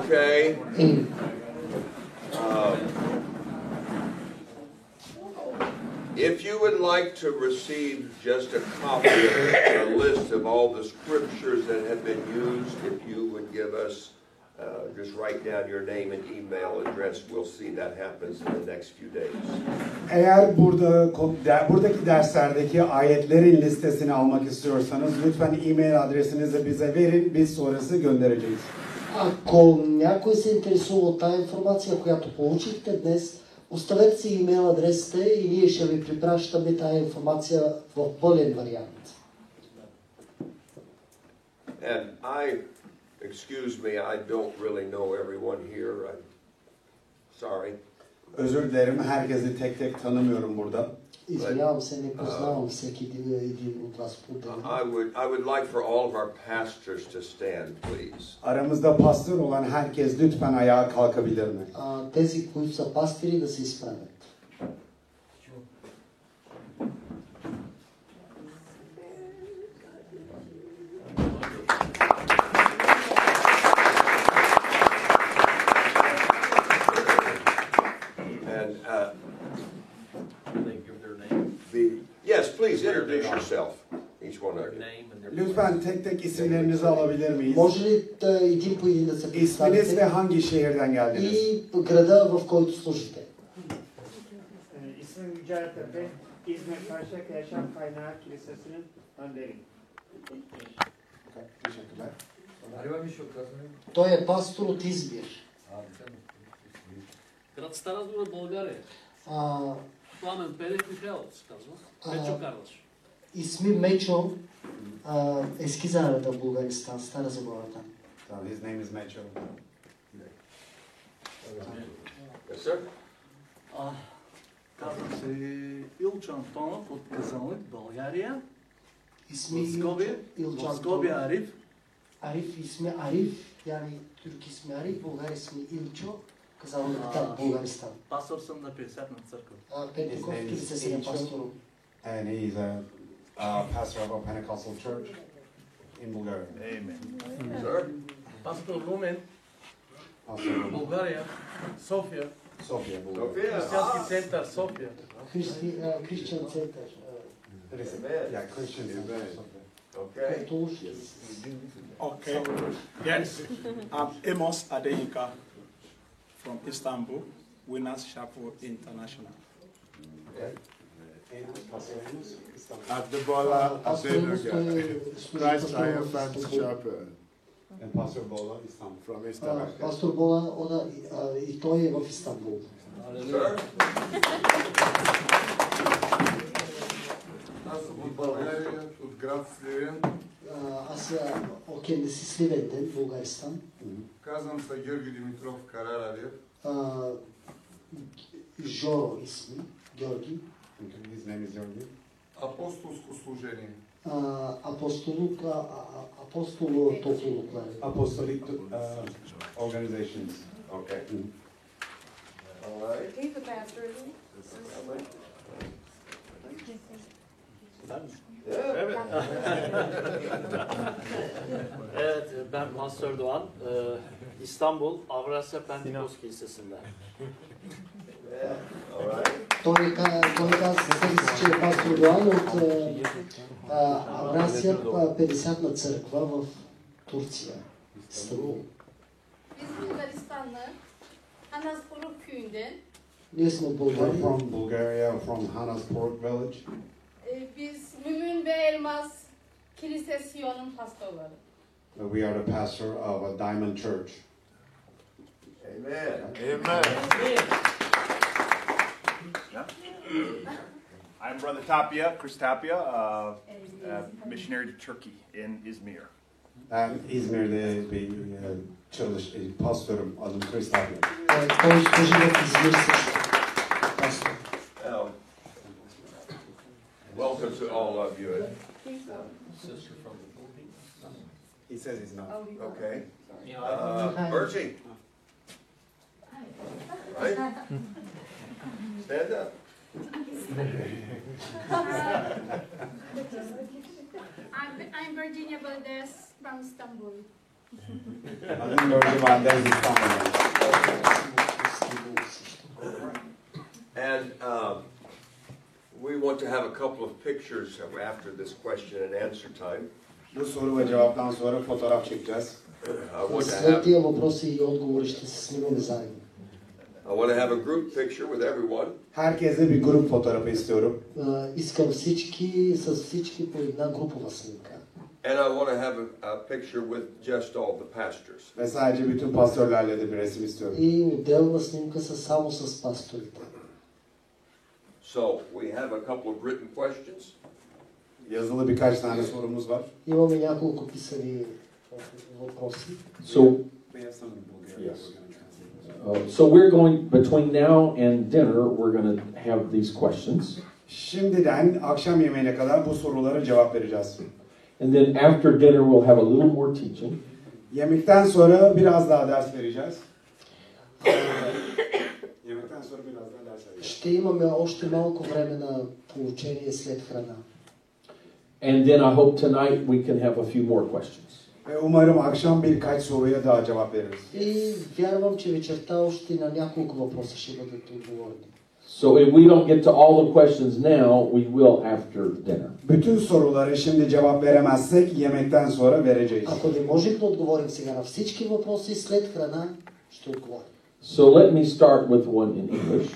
okay. Um, If you would like to receive just a copy of a list of all the scriptures that have been used, if you would give us, uh, just write down your name and email address, we'll see that happens in the next few days. Eğer burada de- buradaki derslerdeki ayetlerin listesini almak istiyorsanız lütfen e-mail adresinizi bize verin. Biz sonrası göndereceğiz. Ако някой се интересува от тази информация, която получихте днес, оставете си имейл адресите и ние ще ви препращаме тази информация в пълен вариант. And I, excuse me, I don't really know everyone here. I'm sorry. Özür dilerim herkesi tek tek tanımıyorum burada. Извинявам се, не познавам всеки един, един от вас по I would, I would like for all of our pastors to stand, please. Aramızda pastör olan herkes lütfen ayağa kalkabilir mi? а, Тези, които са пастири, да се изправят. And uh, They give their name, the, yes, please introduce yourself, each one of you. name and their. Lütfen tek tek isimlerinizi alabilir miyiz? Може ли да, един по един да се İsminiz ve представите hangi şehirden geldiniz? и града, в който служите? Ee, İsmim Yücel Tepe, İzmir Karşıyaka Yaşam Kaynağı Kilisesi'nin önderiyim. Teşekkürler. Той е пастор от Избир. Град Стара Загора, България. А, Пламен Пелев Михайлов се казва. А. Печо Карлаш. İsmi Meço, Aa, eski Zara'da Bulgaristan, Stara Zagora'dan. Tamam, his name is Mitchell. Yes, sir? А, казвам се Илчо Антонов от Казанлък, България. İsmi Московия, Yılcan Московия Doğru. Ариф. Arif ismi Arif, yani Türk ismi Arif, Bulgar ismi İlço, Aa. Kızılırmak'tan Bulgaristan. Пастор съм на 50 на църква. Aa, Pentekost İsmi Kilisesi'ne İlço. pastorum. And he is a uh, pastor of a Pentecostal church in Bulgaria. Sir? Пастор Румен, Pastor България, София, Sofia, Sophia. Bulgaria. Християнски център София. Christi- aa, Christian Center, Christian. Amen. Yeah, Christian. Amen. Sofia. aa, Okay. Kurtuluş Kilisesi. Okay. Yes. I'm Amos Adeyinka from Istanbul, Winners Chapel International. And Pastor Amos, İstanbul. Abdullah Pastorumuz Adenuga, e, üstüne Christ pastorumuz Triumphant pastor- Chapel And Pastor Bola, İstanbul. Ah, from Aa, Istanbul. Pastor Bola, o da aa, i to je v Istanbul. Sir? Аз съм от България, от град Сливен. Aa, Asya, o kendisi Sliven'den, Bulgaristan. Казвам се Георги Димитров Караралиев. Aa, Joro ismi, Georgi. His name is Jordi. Апостолско служение. Aa, apostoluk, aa, aa, apostolu toplulukları. Apostolic uh, organizations. Okay. Mhm. All right. He's a pastor, isn't he? Yeah. Evet, ben Mansur Doğan. Ee, İstanbul Avrasya Pentekost Kilisesi'nden. All right. Той, е ка- той каза, че е пастор Йоан от а, а, Аврасия, а, 50-на църква в Турция. Истанбул. Biz Bulgaristanlı. Anasporuk köyünden. Ние сме от We're България. from Bulgaria, from Hanasport village. Ee, Biz Mümin ve Elmas Kilisesiyo'nun pastorları. We are the pastor of a diamond church. Amen. Amen. I'm Brother Tapia, Chris Tapia, uh, uh, missionary to Turkey in Izmir. Ben İzmir'de bir e, çalış, e, pastörüm. Adım Chris Tapia. Той той служи в Измир също. Пастор. Um, Welcome to all of you. Sister from the Philippines. He says he's not. Okay. You know, Uh, Bertie? Right? Stand up. I'm, I'm Virginia Valdez from Istanbul. Adım Börcü Valdez İstanbul'dan. And um, we want to have a couple of pictures after this question and answer time. Bu soru ve cevaptan sonra fotoğraf çekeceğiz. I want to След have, тия въпроси и отговори ще се снимаме заедно. I want to have a group picture with everyone. Herkese bir grup fotoğrafı istiyorum. А, Искам всички, с всички по една групова снимка. And I want to have a, a picture with just all the pastors. Ve sadece bütün pastörlerle de bir resim istiyorum. И отделна снимка са само с пасторите. So we have a couple of written questions. Yazılı birkaç tane sorumuz var. Имаме няколко писани а, въпроси. So, We have some yes. Uh, So we're going, between now and dinner, we're gonna have these questions. Şimdiden akşam yemeğine kadar bu sorulara cevap vereceğiz. And then after dinner, we'll have a little more teaching. Yemekten sonra biraz daha ders vereceğiz. Yemekten sonra biraz daha ders vereceğiz. Ще имаме още малко време на получение след храна. And then I hope tonight we can have a few more questions. Ve umarım akşam birkaç soruya daha cevap veririz. И вярвам, че вечерта още на няколко въпроса ще бъдат отговорени. So if we don't get to all the questions now, we will after dinner. Bütün sorulara şimdi cevap veremezsek yemekten sonra vereceğiz. Ако не можем да отговорим сега на всички въпроси, след храна ще отговорим. So let me start with one in English.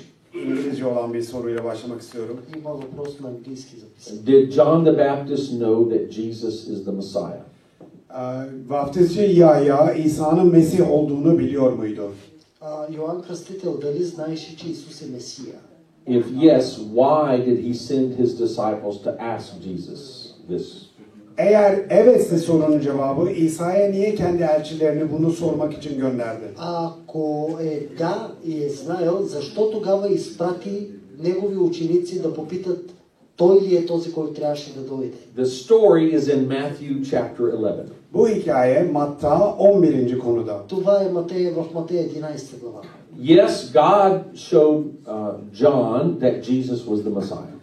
İngilizce olan bir soruyla başlamak istiyorum. Има въпрос на английски записан. Did John the Baptist know that Jesus is the Messiah? Ee, Vaftizci Yahya İsa'nın Mesih olduğunu biliyor muydu? А, Йоанн Кръстител дали знаеше, че Исус е Месия? If yes, why did he send his disciples to ask Jesus this? Eğer evetse sorunun cevabı İsa'ya niye kendi elçilerini bunu sormak için gönderdi? Ако е да и е знаел, защо тогава изпрати негови ученици да попитат той ли е този, който трябваше да дойде? The story is in Matthew chapter 11. Bu hikaye Matta 11. konuda. Това е Матея, в Матея 11 глава. Yes, God showed uh, John that Jesus was the Messiah.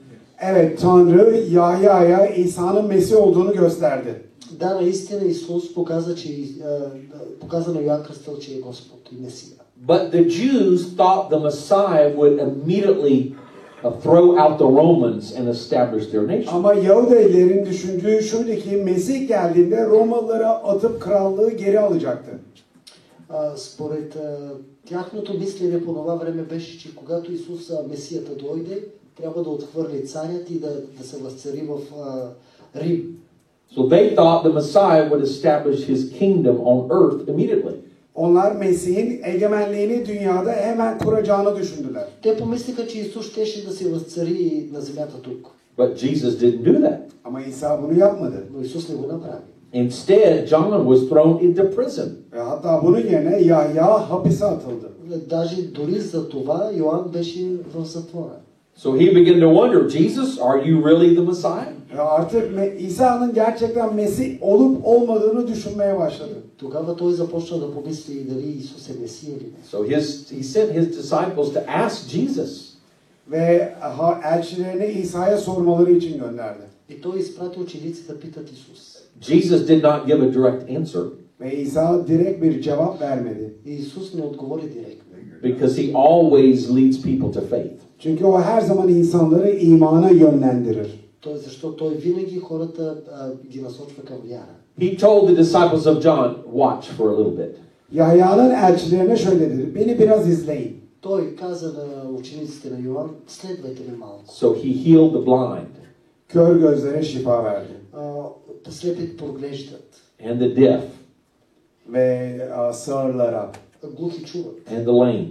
Evet Tanrı Yahya'ya İsa'nın Mesih olduğunu gösterdi. Да, наистина Исус показа, че, е, да, показа на Йоанн Кръстел, че е Господ и Месия. But the Jews thought the Messiah would immediately uh, throw out the Romans and establish their nation. Ama Yahudilerin düşündüğü şuydu ki Mesih geldiğinde Romalılara atıp krallığı geri alacaktı. А, Според а, тяхното мислене по това време беше, че когато Исус а, Месията дойде, трябва да отхвърли царят и да, да се възцари в а, Рим. So they thought the Messiah would establish his kingdom on earth immediately. Onlar Mesih'in egemenliğini dünyada hemen kuracağını düşündüler. Те помислиха, че Исус щеше да се възцари на земята тук, But Jesus didn't do that. Ama İsa bunu yapmadı. но Исус не го направи. Instead, John was thrown into prison. Ve E, hatta bunun yerine Yahya hapise atıldı. Даже дори за това Йоанн беше в затвора. So he began to wonder, Jesus, are you really the Messiah? Ve E, artık Me- İsa'nın gerçekten Mesih olup olmadığını düşünmeye başladı. Тогава той започна да помисли дали Исус е Месия или не. So his, he sent his disciples to ask Jesus. Ve e, ha- elçilerini İsa'ya sormaları için gönderdi. И той изпрати ученици да питат Исус. Jesus did not give a direct answer Ve İsa direkt bir cevap vermedi. И Исус не отговори директно. because he always leads people to faith. Çünkü o her zaman insanları imana yönlendirir. Той, защото той винаги хората а, ги насочва към вяра. He told the disciples of John, Watch for a little bit. Yahya'nın elçilerine şöyle dedi. Beni biraz izleyin. Той каза на учениците на Йоанн, следвайте ме малко. So he healed the blind Kör gözlere şifa verdi. А, слепите проглеждат, and the deaf Ve e, sığırlara, глухи чуват, and the lame.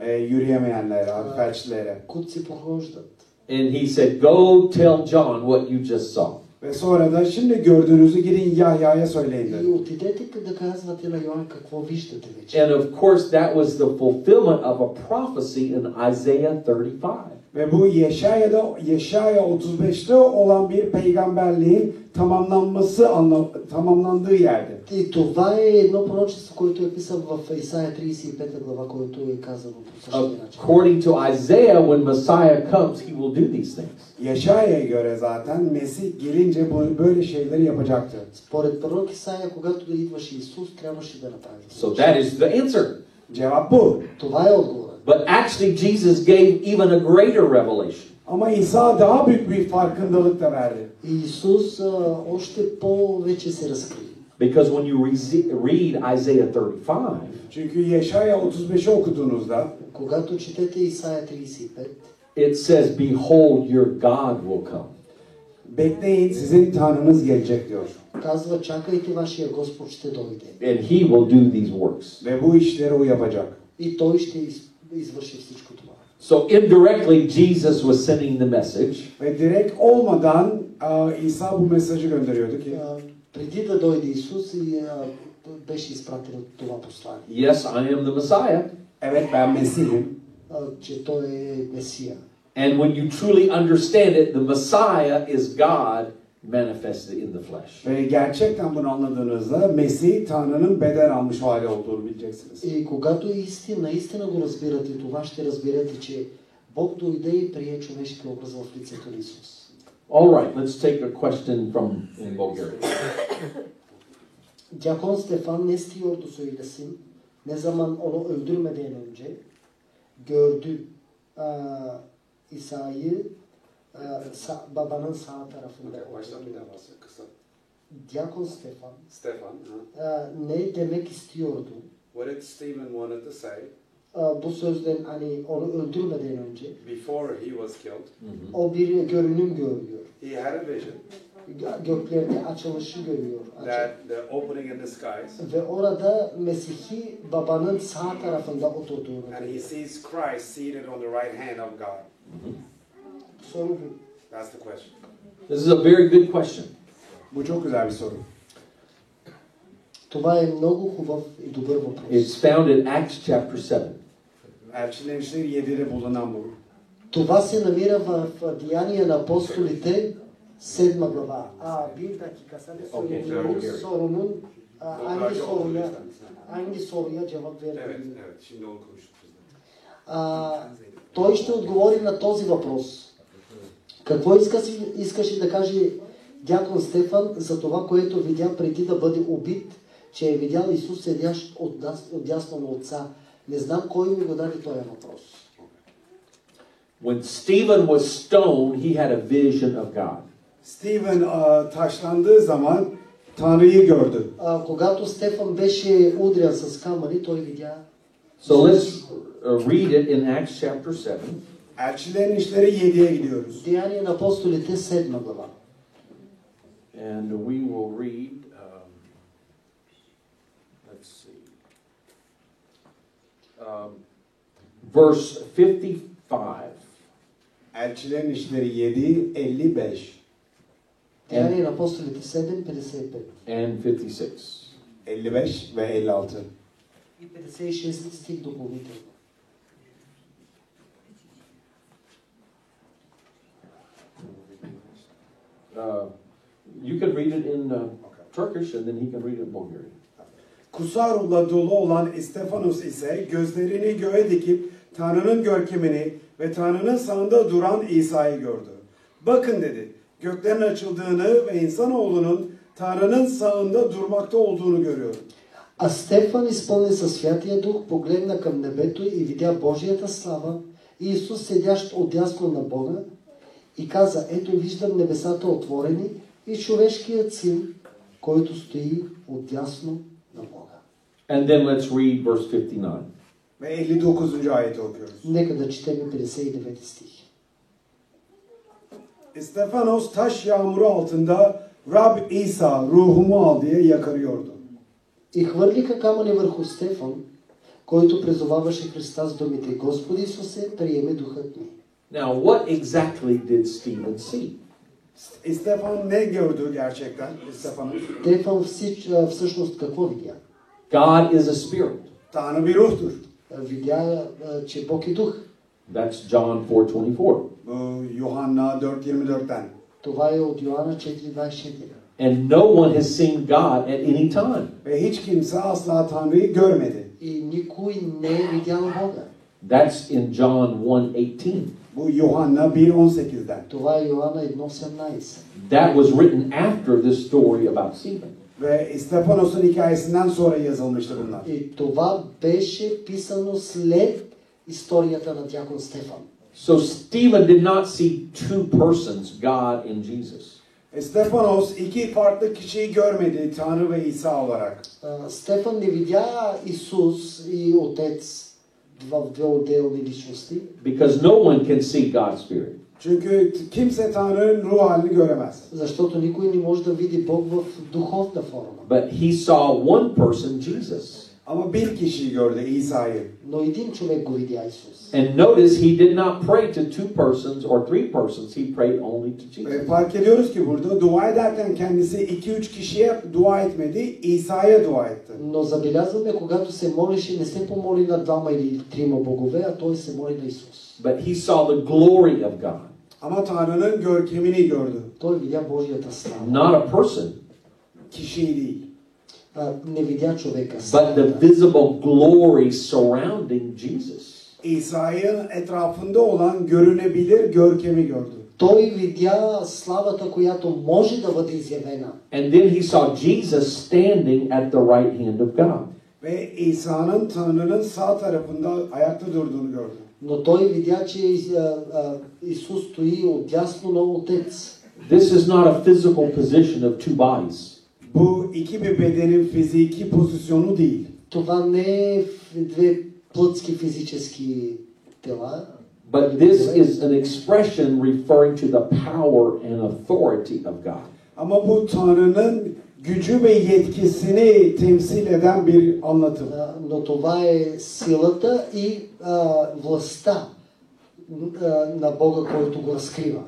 e, yürüyemeyenlere, felçlere. кутци прохождат. And he said, Go tell John what you just saw. Ve sonra da şimdi gördüğünüzü gidin Yahya'ya söyleyin И dedi. отидете къде да казвате на Йоанн какво виждате вече. And of course, that was the fulfillment of a prophecy in Isaiah 35. Ve bu Yeşaya'da Yeşaya 35'te olan bir peygamberliğin tamamlanması anla- tamamlandığı yerdir. И това е едно пророчество, което е писано в Исаия 35 глава, което е казано по същия начин. According to Isaiah, when Messiah comes, he will do these things. Yeşaya'ya göre zaten Mesih gelince bu- böyle şeyleri yapacaktır. Според пророк Исаия, когато да идваше Исус, трябваше да направи. So that is the answer. Cevap bu. Това е отговор. But actually, Jesus gave even a greater revelation. Ama İsa daha büyük bir farkındalık da verdi. Исус а, още по-вече се разкри. Because when you rese- read Isaiah 35, Çünkü Yeşaya 35'i okuduğunuzda Когато четете Исаия 35, it says, Behold, your God will come. bekleyin sizin Tanrınız gelecek diyor. казва, чакайте вашия Господ ще дойде. And he will do these works. Ve bu işleri o yapacak. И той ще из- извърши всичко това. So indirectly, Jesus was sending the message Ve direkt olmadan a, İsa bu mesajı gönderiyordu ki А, преди да дойде Исус и а, беше изпратено това послание, Yes, I am the Messiah. evet ben Mesih'im. а, че той е Месия. And when you truly understand it, the Messiah is God manifested in the flesh. Ve gerçekten bunu anladığınızda Mesih Tanrı'nın beden almış hali olduğunu bileceksiniz. И когато истина, наистина го разбирате това, ще разберете, че Бог дойде и прие човешкия образ в лицето на Исус. All right, let's take a question from in Bulgaria. Diakon Stefan ne istiyordu söylesin? Ne zaman onu öldürmeden önce gördü aa, İsa'yı aa, sa- babanın sağ tarafında. bahset kısa. Diakon Stefan Stefan. aa, ne demek istiyordu? What did Stephen wanted to say Aa, bu sözden hani onu öldürmeden önce before he was killed? o bir görünüm görüyor. He had a vision Gö- Göklerde açılışı görüyor. Açı- that the opening in the skies, Ve orada Mesih'i babanın sağ tarafında oturduğunu and he sees Christ seated on the right hand of God. soru bu. That's the question. This is a very good question. Bu çok güzel bir soru. Това е много хубав и добър въпрос. It's found in Acts chapter 7. Elçilerin işleri 7'de bulunan bu. Това се намира в в Деяния на апостолите, седма глава. А, bir dakika sen de Okey, sorunun, tamam. sorunun а, hangi Mutlaka olur soruya lütfen. hangi soruya cevap Evet, vermeli? evet. Şimdi onu konuştuk biz de. А, той ще отговори на този въпрос. Какво иска си- искаше да каже дякон Стефан за това, което видя преди да бъде убит, че е видял Исус седящ от, дяс- от дясно на Отца? Не знам кой ми го даде този въпрос. When Stephen was stoned, he had a vision of God. Stephen a, taşlandığı zaman Tanrı'yı gördü. А, когато Стефан беше удрян с камъни, той видя So let's uh, read it in Acts chapter 7. Elçilerin işleri 7'ye gidiyoruz. Деяния на апостолите 7 глава. And we will read, um, let's see, um, verse 55. Elçilerin işleri 7, 55, Деяния на апостолите 7, 55 and 56. 55 ve 56. и 56 стих допълнително. Uh, you can read it in uh, Turkish, and then he can read it in Bulgarian. Kusarulla dolu olan İstefanos ise gözlerini göğe dikip Tanrı'nın görkemini ve Tanrı'nın sağında duran İsa'yı gördü. Bakın dedi, göklerin açıldığını ve insanoğlunun Tanrı'nın sağında durmakta olduğunu görüyorum. А Стефан, изпълнен със Святия Дух, погледна към небето и видя Божията слава и Исус седящ отдясно на Бога и каза, ето виждам небесата отворени и човешкият син, който стои отдясно на Бога. And then let's read verse 59. Ve 59. ayeti okuyoruz. Нека да четем 59 стих. İstefanos taş yağmuru altında Rab İsa ruhumu al diye yakarıyordu. И хвърлиха камъни върху Стефан, който призоваваше Христа с думите Господи Исусе, приеме духът ми. Now, what exactly did Stephen see? İstefan ne gördü gerçekten İstefanos? Стефан всич, а, всъщност какво видя? God is a spirit. Tanrı bir ruhtur. А, Видя, а, че Бог е дух. That's John 4:24. Bu Yuhanna 4.24'ten. Това е от Йоанна 4.24. And no one has seen God at any time. Ve hiç kimse asla Tanrı'yı görmedi. И никой не е видял Бога. That's in John 1:18. Bu Yuhanna 1.18'den. Това е Йоанна 1.18. That was written after this story about Stephen. Ve Stefanos'un hikayesinden sonra yazılmıştı bunlar. И това беше писано след историята на дякон Стефан. So Stephen did not see two persons, God and Jesus. E, Stefanos iki farklı kişiyi görmedi Tanrı ve İsa olarak. А, Стефан не видя Исус и Отец в две отделни личности, Because no one can see God's Spirit. Çünkü t- kimse Tanrı'nın ruh halini göremez. защото никой не може да види Бог в духовна форма. But he saw one person, Jesus. Ama bir kişiyi gördü İsa'yı. Но един човек го видя Исус. And notice he did not pray to two persons or three persons, he prayed only to Ve Jesus. fark ediyoruz ki burada dua ederken kendisi 2-3 kişiye dua etmedi, İsa'ya dua etti. Но забелязваме, когато се молеше, не се помоли на двама или трима богове, а той се моли на Исус. But he saw the glory of God, Ama Tanrı'nın görkemini gördü. Той видя Божията слава. not a person, Kişiyi değil. А, не видя човека. but the славата. visible glory surrounding Jesus. İsa'nın etrafında olan görünebilir görkemi gördü. Той видя славата, която може да бъде изявена. And then he saw Jesus standing at the right hand of God. Ve İsa'nın Tanrı'nın sağ tarafında ayakta durduğunu gördü. Но той видя, че а, а, Исус стои отдясно на Отец. This is not a physical position of two bodies. Bu iki bir bedenin fiziki pozisyonu değil. Това не е ф- две плътски физически тела, But this is an expression referring to the power and authority of God. Ama bu Tanrı'nın gücü ve yetkisini temsil eden bir anlatım. а, но това е силата и а, властта м, а, на Бога, който го разкрива.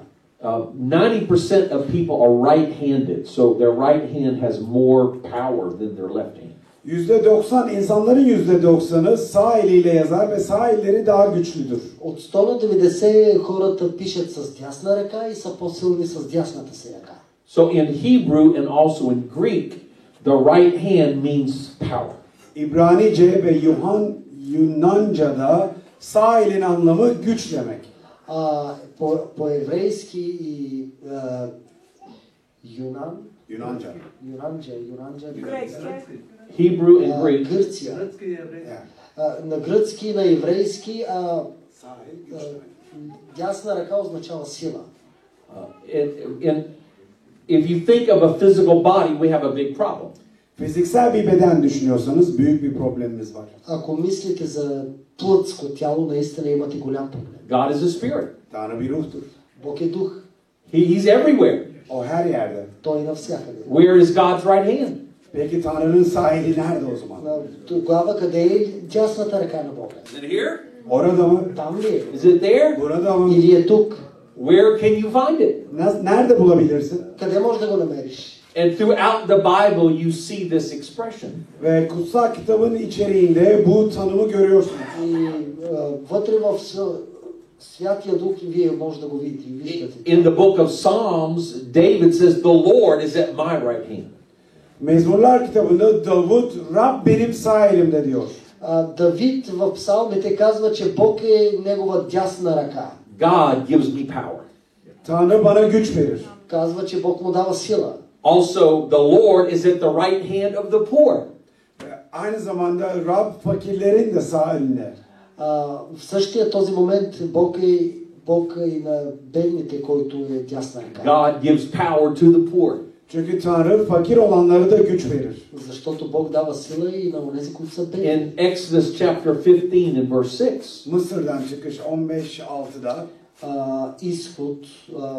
Uh, 90% of people are right handed, so their right hand has more power than their left hand. %90 insanların %90'ı sağ eliyle yazar ve sağ elleri daha güçlüdür. От 100 на 90 хората пишат с дясна ръка и са по-силни с дясната си ръка. So in Hebrew and also in Greek, the right hand means power. İbranice ve Yuhan Yunanca'da sağ elin anlamı güç demek. А, по, по-еврейски и а, Юнан, Yunanca. Юнанджа, Юнанджа, Hebrew and а, Greek. Гърция. Yani. А, на гръцки и на еврейски а, Sağ el а, güç demek. дясна ръка означава сила. Uh, in, in, if you think of a physical body, we have a big problem. Fiziksel bir beden düşünüyorsanız büyük bir problemimiz var. Ако мислите за плътско тяло, наистина имате голям проблем. God is a spirit, Tanrı bir ruhtur. Бог е дух, he, He's everywhere. O her yerde. той е навсякъде. Where is God's right hand? Peki Tanrı'nın sahili nerede o zaman? А, Тогава къде е дясната ръка на Бога? Is it here? Orada mı? Там ли е? Is it there? Burada mı? Или е тук? Where can you find it? Nas- Nerede bulabilirsin? Къде можеш да го намериш? And throughout the Bible, you see this expression. Ve kutsal kitabın içeriğinde bu tanımı görüyorsunuz. И а, вътре в С- Святия Дух вие може да го видите. и Виждате. In the book of Psalms, David says, The Lord is at my right hand. Mezmurlar kitabında Davut Rab benim sağ elimde diyor. А, Давид в псалмите казва, че Бог е негова дясна ръка. God gives me power. Tanrı bana güç verir. Казва, че Бог му дава сила. Also, the Lord is at the right hand of the poor. Ve aynı zamanda Rab fakirlerin de sağ elinde. А, в същия този момент Бог е, Бог е и на бедните, който е дясна ръка. God gives power to the poor. Çünkü Tanrı fakir olanlara da güç verir. Защото Бог дава сила и на тези, които са бедни. In Exodus chapter 15 and verse 6, Mısır'dan çıkış 15-6'da А, изход а, 15,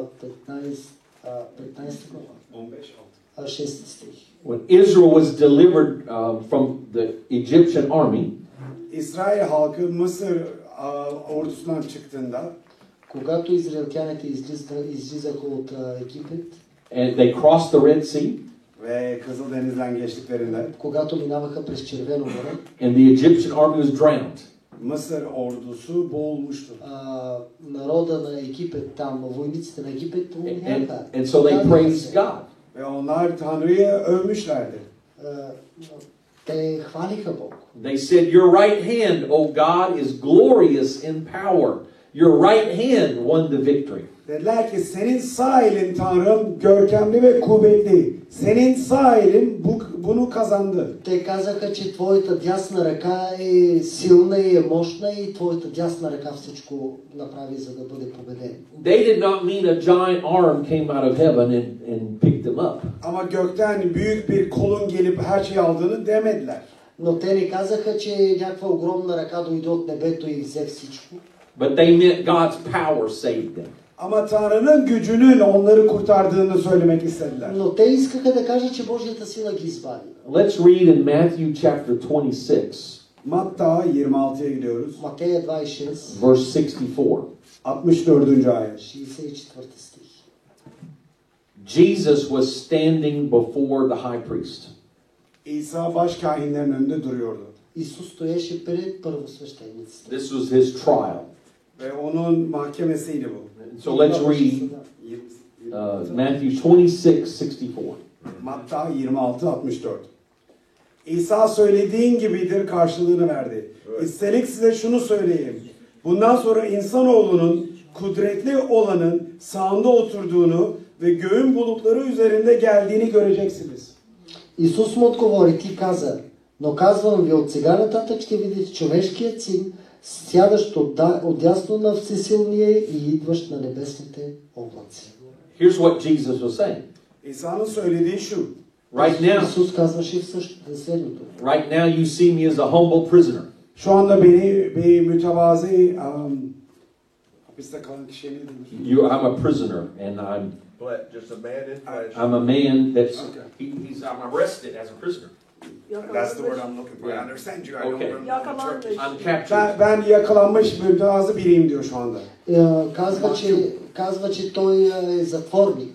а, 15 глава, 15 а, 6 стих. when Israel was delivered uh, from the Egyptian army, İsrail halkı Mısır a, ordusundan çıktığında Когато израелтяните излизаха, излизаха от а, Египет, and they crossed the Red Sea, ve Kızıldeniz'den geçtiklerinde когато минаваха през Червено море, and the Egyptian army was drowned. Mısır ordusu boğulmuştur. а, народа на Египет там, войниците на Египет е, умряха. And so they Отказаха praised се. God. Ve onlar Tanrı'yı övmüşlerdi. А, Те хвалиха Бог. They said, Your right hand, O God, is glorious in power. Your right hand won the victory. Dediler ki senin sağ elin Tanrım görkemli ve kuvvetli. Senin sağ elin bu, bunu kazandı. Те казаха, че твоята дясна ръка е силна и е мощна и твоята дясна ръка всичко направи, за да бъде победен. They did not mean a giant arm came out of heaven and, and picked them up. Ama gökten büyük bir kolun gelip her şeyi aldığını demediler. Но те не казаха, че някаква огромна ръка дойде от небето и взе всичко. But they meant God's power saved them. Ama Tanrı'nın gücünün onları kurtardığını söylemek istediler. Но те искаха да кажат, че Божията сила ги избави. Let's read in Matthew chapter 26, Matta 26'ya gidiyoruz. Матея 26, verse 64. 64. ayet. 64 стих. Jesus was standing before the high priest. İsa başkâhinlerin önünde duruyordu. Исус стоеше пред първосвещениците. This was his trial. Ve onun mahkemesiydi bu. So let's read uh, Matthew 26, 64. Matta 26-64 İsa söylediğin gibidir karşılığını verdi. Üstelik size şunu söyleyeyim. Bundan sonra insanoğlunun kudretli olanın sağında oturduğunu ve göğün bulutları üzerinde geldiğini göreceksiniz. Исус му отговори, ти каза, но казвам ви, от сега нататък ще видите човешкият син, сядащ отда- отдясно на всесилния и идващ на небесните облаци. Here's what Jesus was saying. İsa'nın söylediği şu. Right now, Исус казваше всъщ- следното. right now you see me as a humble prisoner. Şu anda beni bir mütevazi um, hapiste kalan kişiye ne denir? You, I'm a prisoner, and I'm But just a man in flesh. I'm a man that's Okay. he, he's I'm arrested as a prisoner. That's the word I'm looking for. I understand you. I don't Okay. remember the Turkish. I'm captured. Ben, ben yakalanmış mütevazı biriyim diyor şu anda. Е, Казва, че, казва, че той е затворник,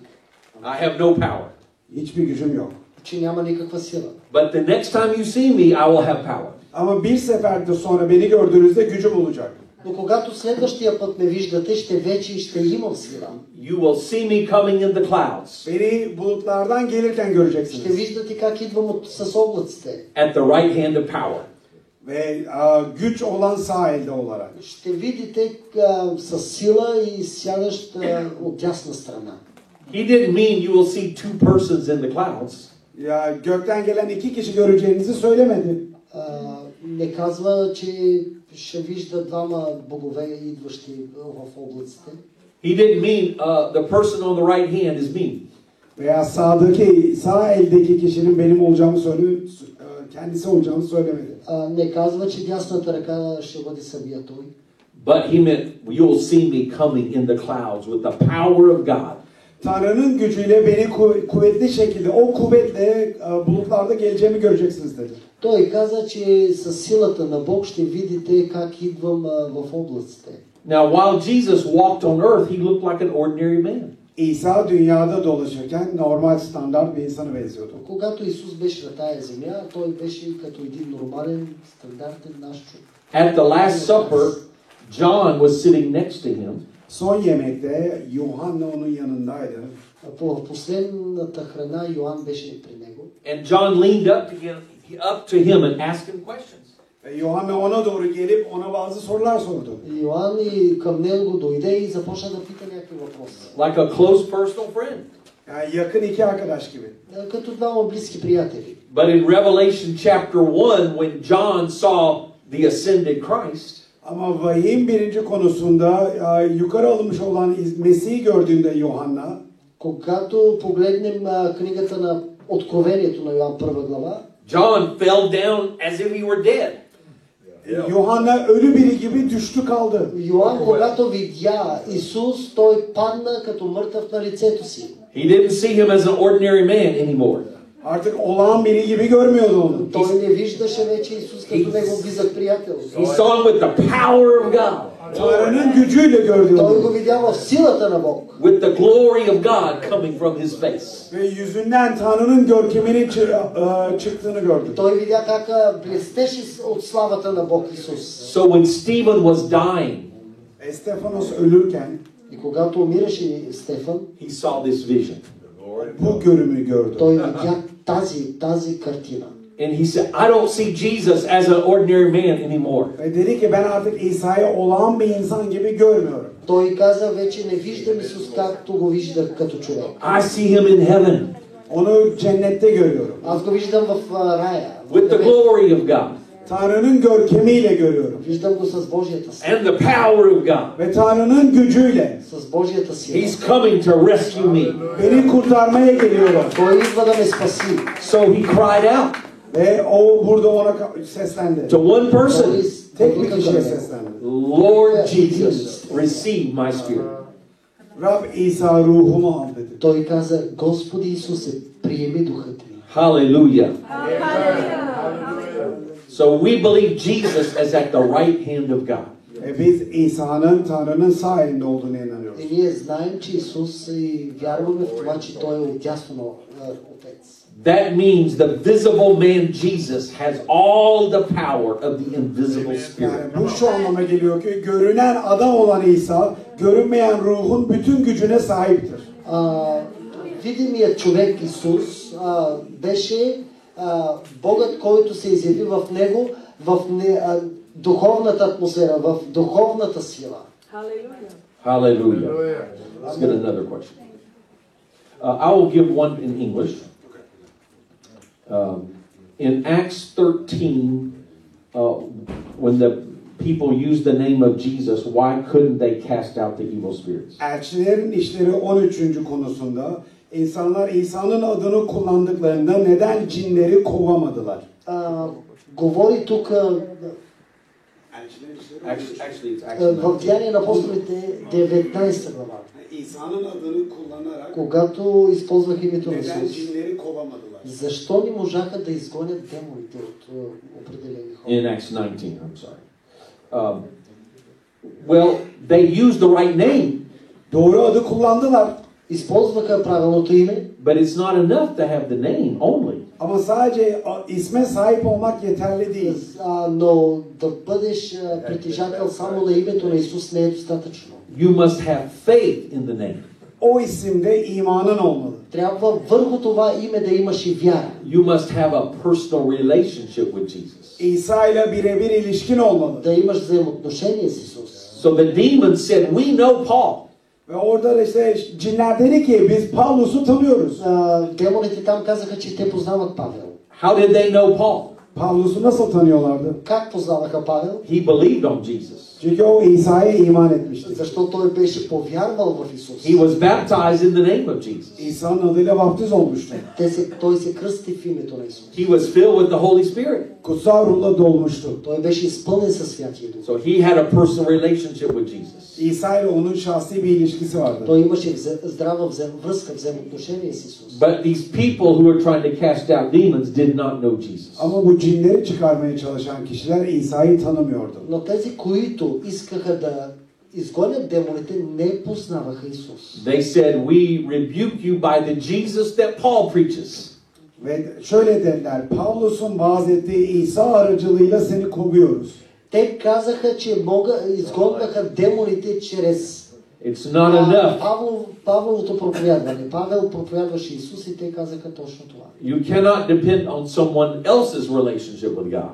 I have no power. Hiçbir gücüm yok. че няма никаква сила. But the next time you see me, I will have power. Ama bir seferde sonra beni gördüğünüzde gücüm olacak. Но когато следващия път ме виждате, ще вече ще имам сила. You will see me coming in the clouds Beni bulutlardan gelirken Ще göreceksiniz. виждате как идвам от, с облаците. at the right hand of power. Ve a, güç olan sağ elde olarak. Ще видите а, с сила и сядащ а, от дясна страна. He didn't mean you will see two persons in the clouds. Ya gökten gelen iki kişi göreceğinizi söylemedi. А, не казва, че ще вижда двама богове, идващи в облаците. He didn't mean uh, the person on the right hand is me. Veya sağdaki, sağ eldeki kişinin benim olacağımı söyle, e, kendisi olacağımı söylemedi. А, не казва, че дясната ръка ще бъде самия той. But he meant you'll see me coming in the clouds with the power of God. Tanrı'nın gücüyle beni ku- kuvvetli şekilde, o kuvvetle e, bulutlarda geleceğimi göreceksiniz dedi. Той каза, че с силата на Бог ще видите как идвам а, в облаците. Now, while Jesus walked on earth, he looked like an ordinary man. İsa dünyada dolaşırken normal standart bir insana benziyordu. Когато Исус беше на тая земя, той беше като един нормален, стандартен наш човек. At the Last Supper, John was sitting next to him, Son yemekte Yuhanna onun yanındaydı. По последната храна Йоанн беше при него. and John leaned up to him, up to him and asked him questions. Ve Yuhanna E, ona doğru gelip ona bazı sorular sordu. Йоанн и към него дойде и започна да пита някакви въпроси. like a close personal friend. Yani yakın iki arkadaş gibi. А, Като двама близки приятели. But in Revelation chapter 1, when John saw the ascended Christ, Ama vahiyin birinci konusunda e, yukarı alınmış olan İz- Mesih'i gördüğünde Yuhanna Когато погледнем а, книгата на Откровението на Йоанн първа глава, John fell down as if he were dead. Yuhanna e, ölü biri gibi düştü kaldı. Йоанн, когато видя Исус, той падна като мъртъв на лицето си. He didn't see him as an ordinary man anymore. Artık olağan biri gibi görmüyordu onu. Той не виждаше вече Исус като него близък приятел. He saw him with the power of God. Tanrı'nın gücüyle gördüğü Той го видя в силата на Бог. with the glory of God coming from his face. ve yüzünden Tanrı'nın görkeminin çı- e, çıktığını gördü. Той видя как а, блестеше от славата на Бог Исус. So when Stephen was dying, Estefanos ölürken И когато умираше Стефан, he saw this vision. bu görümü gördü. той видя тази, тази картина. And he said, I don't see Jesus as an ordinary man anymore. Ve dedi ki ben artık İsa'yı olağan bir insan gibi görmüyorum. Той каза, вече не виждам Исус както го виждах като човек. I see him in heaven Onu cennette görüyorum. Аз го виждам в а, рая. в with the небето. glory of God Tanrı'nın görkemiyle görüyorum. Виждам го с Божията сила. and the power of God. Ve Tanrı'nın gücüyle С Божията сила. He's coming to rescue me. beni kurtarmaya geliyorlar. Той идва да ме спаси. So he cried out Ve o burada ona ka- seslendi. to one Той person, из- Tek bir kişiye Викаме. seslendi. Lord Jesus, receive my spirit. Rab İsa ruhumu al dedi. Той каза, Господи Исусе, приеми духът ми. Hallelujah. So we believe Jesus is at the right hand of God. E biz İsa'nın Tanrı'nın sağ elinde olduğuna inanıyoruz. И ние знаем, че Исус е и вярваме в това, че Той е отясно на Отец. That means the visible man Jesus has all the power of the invisible spirit. Yani bu şu anlama geliyor ki görünen adam olan İsa görünmeyen ruhun bütün gücüne sahiptir. А, видимият човек Исус а, беше а, Богът, който се изяви в Него в не, а, духовната атмосфера, в духовната сила. Hallelujah. Let's get another question. Uh, I will give one in English. Um, in Acts 13, uh, when the people used the name of Jesus, why couldn't they cast out the evil spirits? Elçilerin işleri 13. konusunda insanlar İsa'nın adını kullandıklarında neden cinleri kovamadılar? А, говори тук а, Actually, actually it's Acts а, Е, в 19. Деяния на апостолите 19 глава, İsa'nın adını kullanarak когато използвах името на neden Исус. cinleri kovamadılar? Защо не можаха да изгонят демоните от а, определени хора? in Acts 19, I'm sorry. Um, well, they used the right name, Doğru adı kullandılar Използваха правилното име, but it's not enough to have the name only. ama sadece a- isme sahip olmak yeterli değil. а, но да бъдеш а, притежател само на името на Исус не е достатъчно. You must have faith in the name. O isimde imanın olmalı. Трябва върху това име да имаш и вяра. You must have a personal relationship with Jesus. İsa ile birebir ilişkin olmalı. Да имаш взаимоотношение с Исус. So the demon said, We know Paul. Ve orada da işte cinler dedi ki biz Pavlus'u tanıyoruz. А, демоните там казаха, че те познават Павел. How did they know Paul? Pavlus'u nasıl tanıyorlardı? Как познаваха Павел? He believed on Jesus. Çünkü o İsa'ya iman etmişti. Защо той беше повярвал в Исус. He was baptized in the name of Jesus. İsa'nın adıyla vaftiz olmuştu. Те се, той се кръсти в името на Исус. He was filled with the Holy Spirit. Kutsal ruhla dolmuştu. Той беше изпълнен със Святия Дух. So he had a personal relationship with Jesus. İsa ile onun şahsi bir ilişkisi vardı. Той имаше взе- здрава взаим- връзка, взаимоотношение с Исус. But these people who are trying to cast out demons did not know Jesus. Ama bu cinleri çıkarmaya çalışan kişiler İsa'yı tanımıyordu. Но тези, които искаха да изгонят демоните, не познаваха Исус. They said, We rebuke you by the Jesus that Paul preaches. Ve şöyle dediler, Pavlus'un vaaz ettiği İsa aracılığıyla seni kovuyoruz. Те казаха, че мога, изгонваха демоните чрез It's not enough. Павло, Павловото проповядване. Павел проповядваше Исус и те казаха точно това. You cannot depend on someone else's relationship with God.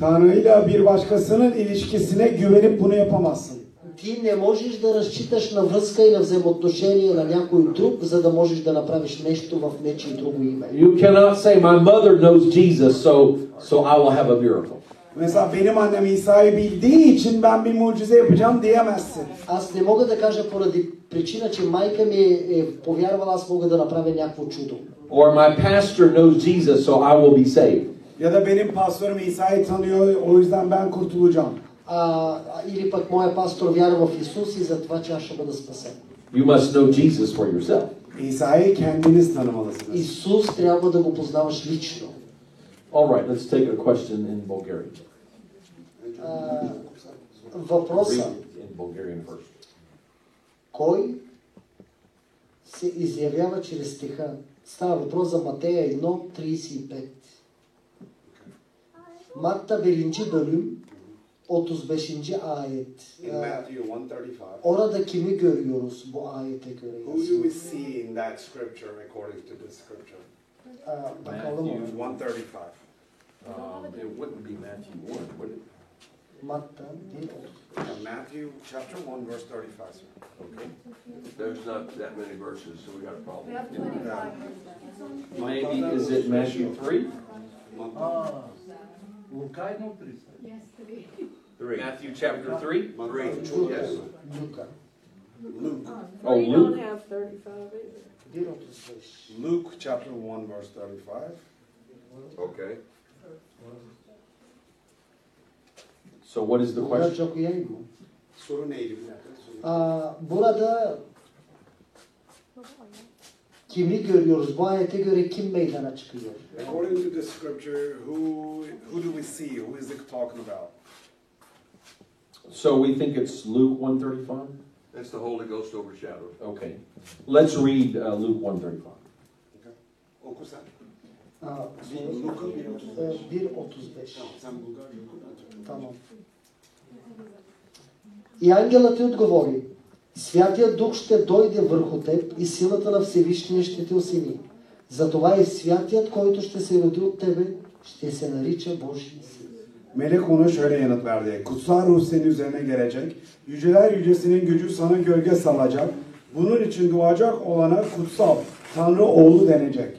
Tanrı'yla bir başkasının ilişkisine güvenip bunu yapamazsın. Ти не можеш да разчиташ на връзка и на взаимоотношение на някой друг, за да можеш да направиш нещо в нечи друго име. You cannot say, My mother knows Jesus, so, so I will have a miracle. Mesela benim annem İsa'yı bildiği için ben bir mucize yapacağım diyemezsin. Аз не мога да кажа поради причина, че майка ми е е повярвала, аз мога да направя някакво чудо. Or my pastor knows Jesus, so I will be saved. Ya da benim pastörüm İsa'yı tanıyor o yüzden ben kurtulacağım. а, а, или пък моя пастор вярва в Исус и затова, че аз ще бъда спасен. You must know Jesus for yourself. İsa'yı kendiniz tanımalısınız. Исус трябва да го познаваш лично. All right, let's take a question in Bulgarian. А, въпроса, Read it in Bulgarian first. Кой се изявява чрез стиха? Става въпрос за Матея 1.35. Марта беринчи bölüm 35. ayet. In Matthew 135. Orada kimi görüyoruz bu ayete göre? Who do we see in that scripture according to this scripture? Aa, bakalım. Matthew 135. Um, it wouldn't be Matthew one, would it? Matta değil. Yeah, Matthew chapter 1 verse 35. sir. Okay. There's not that many verses, so we got a problem. Maybe, is it Matthew 3? Ah, Лука 1.30. Three. Matthew chapter 3? Three, yes. Luka. Oh, We Luke. don't have thirty-five either. Bir otuz beş. Luke chapter 1 verse 35. Okay. So what is the question? Biraz okuyayım mı? Sorun neydi bu? Aa, burada kimi görüyoruz? Bu ayete göre kim meydana çıkıyor? According to this scripture, who who do we see? Who is it talking about? So we think it's Luke 135? That's the Holy Ghost overshadowed. Okay. Let's read uh, Luke 135. Okusan. Aa, Luka 1.35. e, 1.35. Sen Bulgarca oku, ben Türkçe. Tamam. И ангелът ти отговори, Святия Дух ще дойде върху теб и силата на Всевишния ще те осени. Затова и святият, който ще се роди от тебе, ще се нарича Божий син. Melek ona şöyle yanıt verdi. Kutsal ruh senin üzerine gelecek. Yüceler yücesinin gücü sana gölge salacak. Bunun için doğacak olana kutsal, Tanrı oğlu denecek.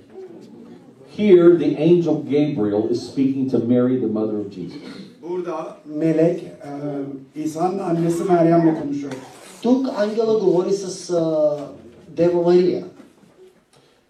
Here, the angel Gabriel is speaking to Mary, the mother of Jesus. Burada melek e, İsa'nın annesi Meryem'le konuşuyor. Тук ангела говори с а, Дева Мария.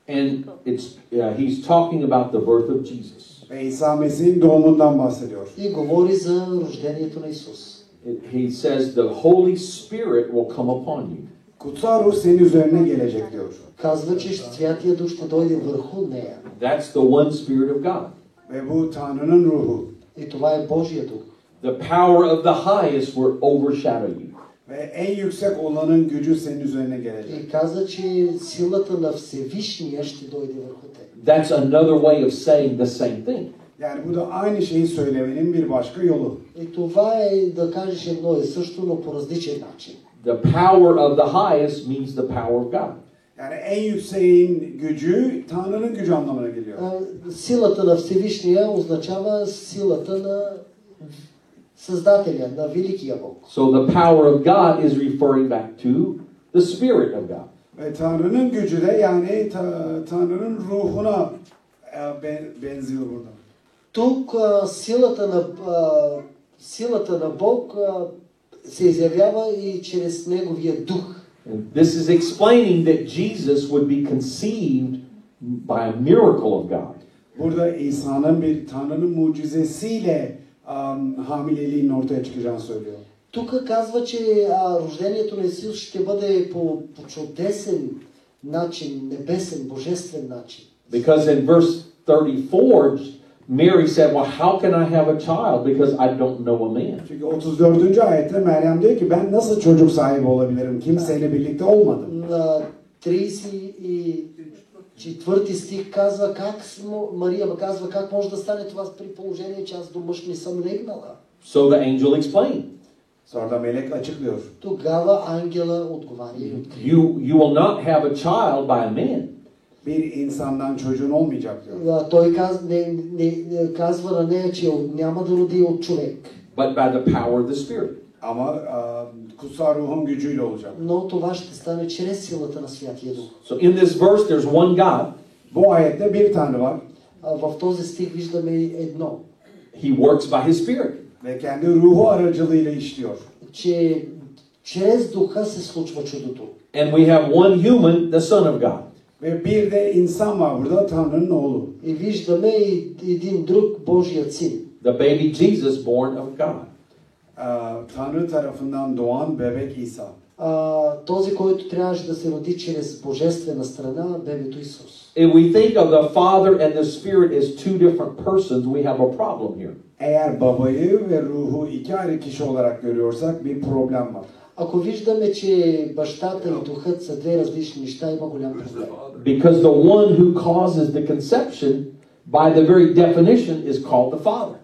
And it's, uh, he's talking about the birth of Jesus. Ve İsa Mesih'in doğumundan bahsediyor. И говори за рождението на Исус. It- he says, The Holy Spirit will come upon you. Kutsal ruh senin üzerine gelecek diyor. Казва, че Святия Дух ще дойде върху нея. That's the one Spirit of God. Ve bu Tanrı'nın ruhu. И това е Божия Дух. The power of the highest will overshadow you. Ve en yüksek olanın gücü senin üzerine gelecek. И каза, че силата на Всевишния ще дойде върху теб. That's another way of saying the same thing. Yani bu da aynı şeyi söylemenin bir başka yolu. И това е да кажеш едно и също, но по различен начин. The power of the highest means the power of God. Yani en yükseğin gücü Tanrı'nın gücü anlamına geliyor. А, Силата на Всевишния означава силата на Създателя, на Великия Бог. So the power of God is referring back to the Spirit of God. Ve Tanrı'nın gücü de yani Ta- Tanrı'nın ruhuna e, ben- benziyor burada. Тук а, силата на, а, силата на Бог а, се изявява и чрез Неговия дух. And this is explaining that Jesus would be conceived by a miracle of God. Burada İsa'nın bir Tanrı'nın mucizesiyle am, hamileliğin ortaya çıkacağını söylüyor. Тук казва, че а, рождението на Исус ще бъде по, по чудесен начин, небесен, божествен начин. Because in verse 34, Mary said, Well, how can I have a child? Because I don't know a man. Çünkü 34. ayette Meryem diyor ki ben nasıl çocuk sahibi olabilirim? Kimseyle birlikte olmadım. На 34 стих казва как смо- Мария казва как може да стане това при положение, че аз до мъж не съм легнала. So the angel explained, Sonra da melek açıklıyor. Тогава ангела отговаря и открива. You, you will not have a child by a man. Bir insandan çocuğun olmayacak diyor. А, Той каз, не, не, не, казва на нея, че от- няма да роди от човек, but by the power of the Spirit. Ama am, kutsal ruhun gücüyle olacak. но това ще стане чрез силата на Святия Дух. So in this verse, there's one God. Bu ayette bir Tanrı var А, В този стих виждаме едно, He works by His Spirit. ve kendi ruhu aracılığıyla işliyor. че чрез Духа се случва чудото. And we have one human, the Son of God. Ve bir de insan var burada Tanrı'nın oğlu. И виждаме и един друг Божият син. The baby Jesus born of God. Aa, Ee, Tanrı tarafından doğan bebek İsa. А, този, който трябваше да се роди чрез божествена страна, бебето Исус. If we think of the Father and the Spirit as two different persons, we have a problem here. Eğer babayı ve ruhu iki ayrı kişi olarak görüyorsak bir problem var. Ако виждаме, че бащата и духът са две различни неща, има голям проблем. Because the one who causes the conception, by the very definition, is called the Father.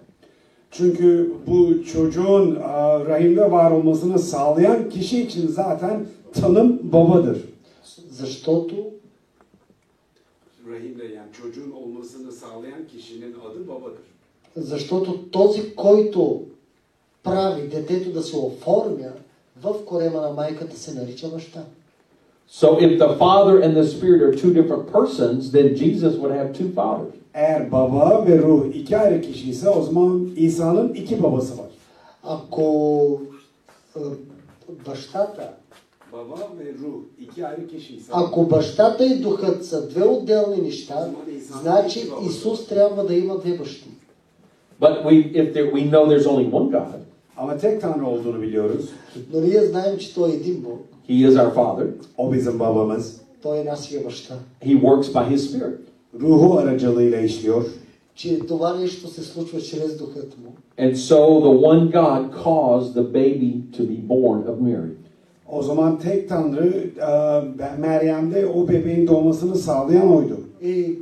Çünkü bu çocuğun e, rahimde var olmasını sağlayan kişi için zaten tanım babadır. Защото Rahimde yani çocuğun olmasını sağlayan kişinin adı babadır. Защото този, който прави детето да се оформя в корема на майката, се нарича баща. So if the Father and the Spirit are two different persons, then Jesus would have two fathers. Eğer baba ve ruh iki ayrı kişi ise o zaman İsa'nın iki babası var. Ако е, бащата, Baba ve ruh iki ayrı kişi ise ако бащата и духът са две отделни неща, значи Исус трябва да има две бащи. But we, if there, we know there's only one God, Ama tek Tanrı olduğunu biliyoruz. Но ние знаем, че Той е един Бог. He is our Father. O bizim babamız. Той е нашия баща. He works by His Spirit. Ruhu aracılığıyla işliyor. Че това нещо се случва чрез духът му. And so the one God caused the baby to be born of Mary. O zaman tek Tanrı e, Meryem'de o bebeğin doğmasını sağlayan oydu. И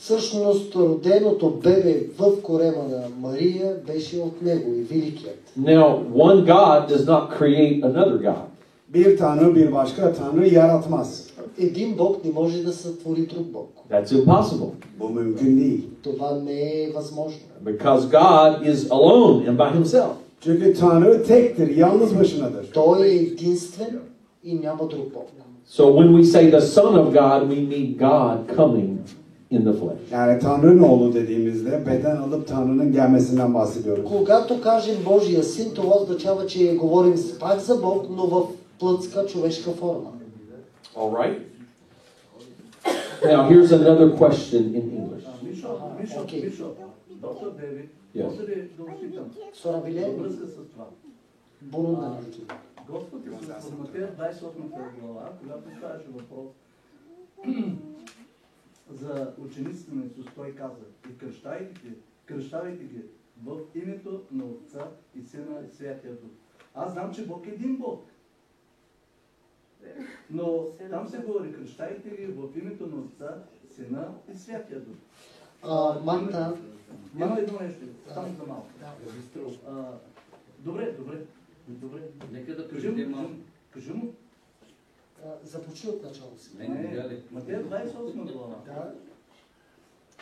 всъщност роденото бебе в корема на Мария беше от него и великият. Now, one God does not create another God. Bir Tanrı bir başka Tanrı yaratmaz. Един Бог не може да сътвори друг Бог. That's impossible. Bu mümkün değil. Това не е възможно. Because God is alone and by Himself. Çünkü Tanrı tektir, yalnız başınadır. Той е единствен и няма друг Бог. So when we say the Son of God, we mean God coming in the flesh. Yani Tanrı'nın oğlu dediğimizde beden alıp Tanrı'nın gelmesinden bahsediyoruz. Когато кажем Божия син, това означава, че говорим пак за Бог, но в плътска човешка форма. All right? Now, here's another question in English. Мишо, Мишо, Окей. Мишо, доктор Деви, Yes. може ли да опитам? Сора Във Вилен, връзка с това. Бурунда. Господ Исус в Матея 28 глава, когато ставаше въпрос за учениците на Исус, той каза, и кръщавайте ги, кръщавайте ги в името на Отца и Сина и Святия Дух. Аз знам, че Бог е един Бог. Но там се говори, кръщайте ги в името на Отца, Сина и Святия Дух. А, Марта, Има едно нещо, само за малко. А, Добре, добре, добре. Нека да Кажи му, преведем кажи малко. му, кажи му. а, започни от начало си. Не, не, не. Матея 28 глава. Да.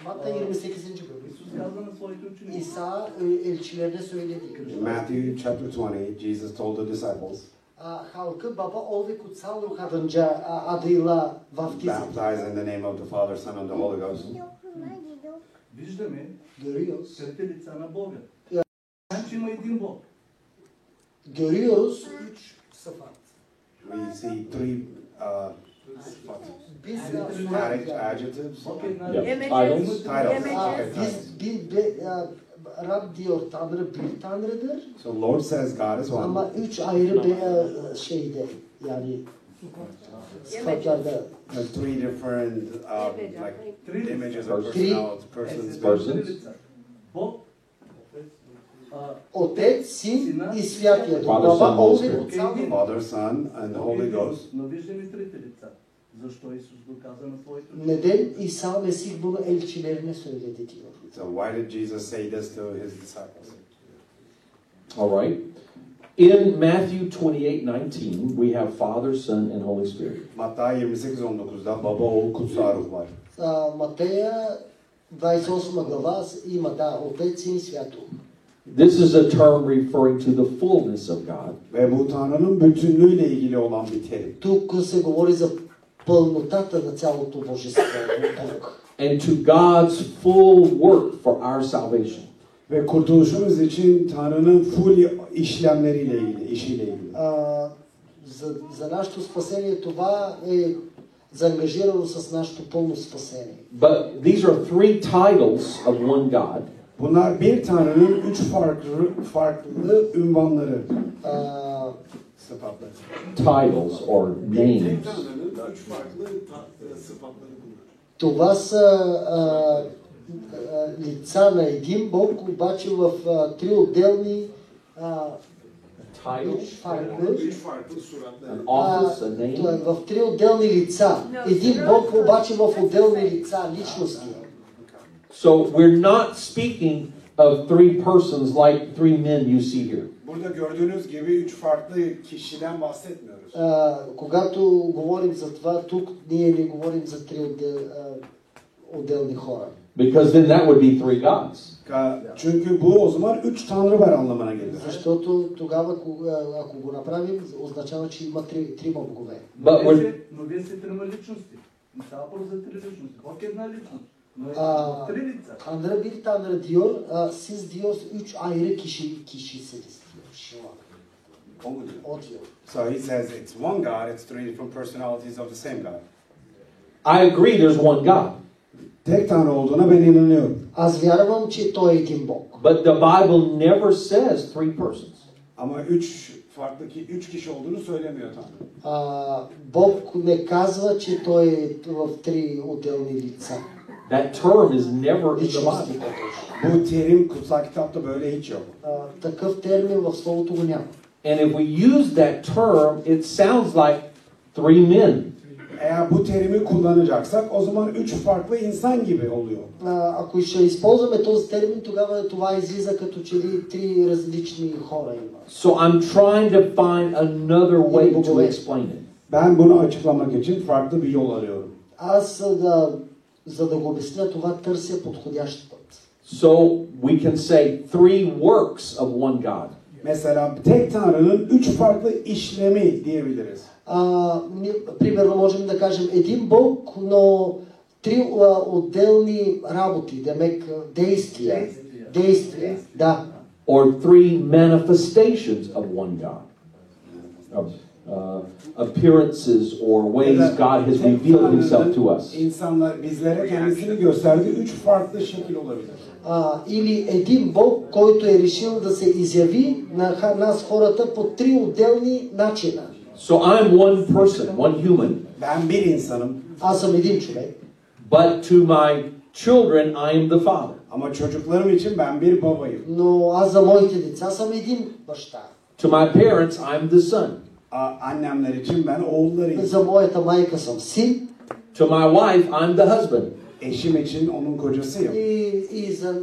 Марта Ee, 28. Исус каза на своите ученици. İsa e, elçilerine söyledi. In Matthew chapter 20, Jesus told the disciples, A, halkı baba oğul ve kutsal ruh adınca a, adıyla vaftiz et. baptize in the name of the Father, Son, and the Holy Ghost. Виждаме Görüyoruz. трите лица на Бога. Я. Знаем, че има един Бог. Görüyoruz üç sıfat. We see three uh, Biz ad- adjectives. Бог е една Yeah. любов. Titles. Titles. Aa, Okay, titles. biz bir be- a, Rab diyor Tanrı bir Tanrı'dır So Lord says God is one. ama üç ayrı bir a, şeyde yani sıfatlarda There's three different um, like Три лица. images of Three. personalities, persons. Е, сега Persons. три лица. Бог, а, Otec, Sin Сина. и Святия Дух. Father, Son, Baba, oğul ve Holy kutsal ruh. Father, Son, and the е Бог е Holy един, Ghost. Но виждаме трите лица. Zašto Isus го каза на своите ученици? Neden İsa Mesih bunu elçilerine söyledi diyor. So why did Jesus say this to his disciples? All right. In Matthew 28 19, we have Father, Son, and Holy Spirit. Matta 28.19'da baba oğul kutsal ruh var. А, Матея 28 глава има, да, Отец, Син и Свят Дух. This is a term referring to the fullness of God. Ve bu Tanrı'nın bütünlüğüyle ilgili olan bir terim. Тук се говори за пълнотата на цялото Божество Бог. And to God's full work for our salvation. Ve kurtuluşumuz için Tanrı'nın full işlemleriyle ilgili, işiyle ilgili. А, за, за нашето спасение това е заангажирано с нашето пълно спасение. But these are three titles of one God. Bunlar bir Tanrı'nın üç farklı, farklı ünvanları, А, sıfatları. Titles or Tek names. Tanrı'nın üç farklı ta- e, sıfatları bunlar. това са а, а, лица на един Бог, обаче в а, три отделни а, title, Üç farklı. Üç farklı suratlar. an а, office, a name. той е в три отделни лица. Един Бог обаче в отделни лица, личности. So we're not speaking of three persons like three men you see here. Burada gördüğünüz gibi üç farklı kişiden bahsetmiyoruz. А, когато говорим за това, тук ние не говорим за три отдел, а, отделни хора. Because then that would be three gods. Ka- Çünkü bu o zaman üç tanrı var anlamına gelir. Защото тогава, кога- ако го направим, означава, че има три, трима богове. Но But вие, when, сте, но вие сте трима личности. Не става въпрос за три личности. Бог е една личност. Но е А. в три лица. Tanrı bir tanrı diyor, e, siz diyor üç ayrı kişi kişisiniz diyor. Şıvan. O mu diyor? O diyor. So he says it's one God, it's three different personalities of the same God. I agree there's one God, Tek tanrı olduğuna ben inanıyorum. Аз вярвам, че той е един Бог. but the Bible never says three persons. Ama üç farklı ki üç kişi olduğunu söylemiyor tanrı. А, Бог не казва, че той е в три отделни лица. That term is never in the Личности. Bible. Bu terim kutsal kitapta böyle hiç yok. А, Такъв термин в Словото го няма. And if we use that term, it sounds like three men. Eğer bu terimi kullanacaksak o zaman üç farklı insan gibi oluyor. А, Ако ще използваме този термин, тогава това излиза като че ли три различни хора има. So I'm trying to find another way to explain it. Ben bunu açıklamak için farklı bir yol arıyorum. Аз, за да, за да го обясня това, търся подходящ път. So we can say three works of one God. Mesela tek tanrının üç farklı işlemi diyebiliriz. А, ние, примерно можем да кажем един Бог, но три а, отделни работи, демек, а, действия. Действия. Действия, да. or three manifestations of one God, of uh, appearances or ways God has revealed Himself to us. İnsanlar bizlere kendisini gösterdiği üç farklı şekil olabilir. А, или един Бог, който е решил да се изяви на ха- нас хората по три отделни начина. So I'm one person, one human, Ben bir insanım Аз съм един човек, but to my children I am the Father. ama çocuklarım için ben bir babayım. но аз за моите деца съм един баща. To my parents I'm the Son. A- Annemler için ben oğullarıyım. За моята майка съм син To my wife I'm the husband. Eşim için onun kocasıyım. и, и за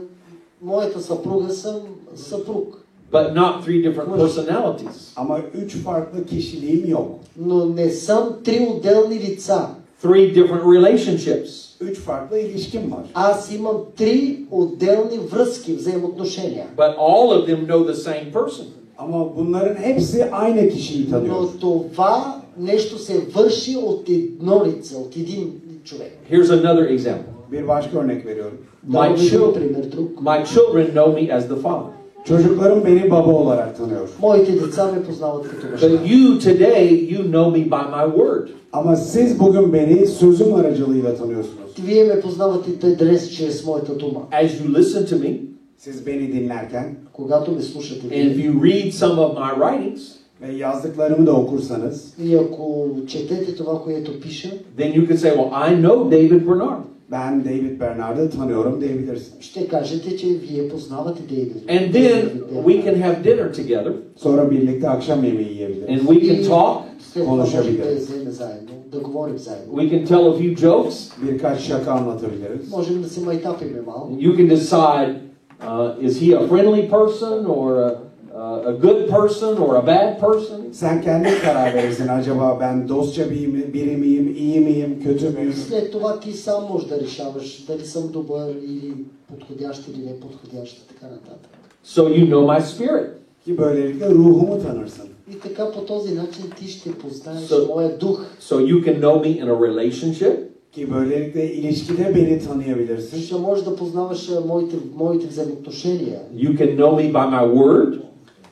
моята съпруга съм съпруг. But not three different personalities. Ama üç farklı kişiliğim yok. Но не съм три отделни лица. Three different relationships. Üç farklı ilişkim var. Аз имам три отделни връзки, взаимоотношения. But all of them know the same person. Ama bunların hepsi aynı kişiyi tanıyor. Но това нещо се върши от едно лице, от един човек. Here's another example. Bir başka örnek veriyorum. My, Давам един chil- пример друг. my children know me as the Father. Çocuklarım beni baba olarak tanıyor. Моите деца ме познават като But баща. you today, you know me by my word. Ama siz bugün beni sözüm aracılığıyla tanıyorsunuz. Вие ме познавате тъй днес чрез моята дума. As you listen to me, Siz beni dinlerken Когато ме слушате and if вие you read some of my writings, ve yazdıklarımı da okursanız и ако четете това, което пиша, then you can say, Well, I know David Bernard. ben David Bernard'ı tanıyorum diyebilirsiniz. ще кажете, че вие познавате Дейвид. And Дейвид then we Бергман. can have dinner together Sonra birlikte akşam yemeği yiyebiliriz. and we И can talk. след това можем да Конушавите. вземем заедно, да говорим заедно. We can tell a few jokes. Birkaç şaka anlatabiliriz. Можем да се майтапиме малко. You can decide uh, is he a friendly person or a, uh, a good person or a bad person? Sen kendin karar verirsin acaba ben dostça biri, mi- biri miyim, iyi miyim, kötü müyüm? След това ти сам можеш да решаваш дали съм добър или подходящ или неподходящ и така нататък. So you know my spirit. Ki böylelikle ruhumu tanırsın. И така по този начин ти ще познаеш So- моя дух. So you can know me in a relationship, Ki böylelikle ilişkide beni tanıyabilirsin. Ще можеш да познаваш а, моите, моите взаимоотношения. you can know me by my word.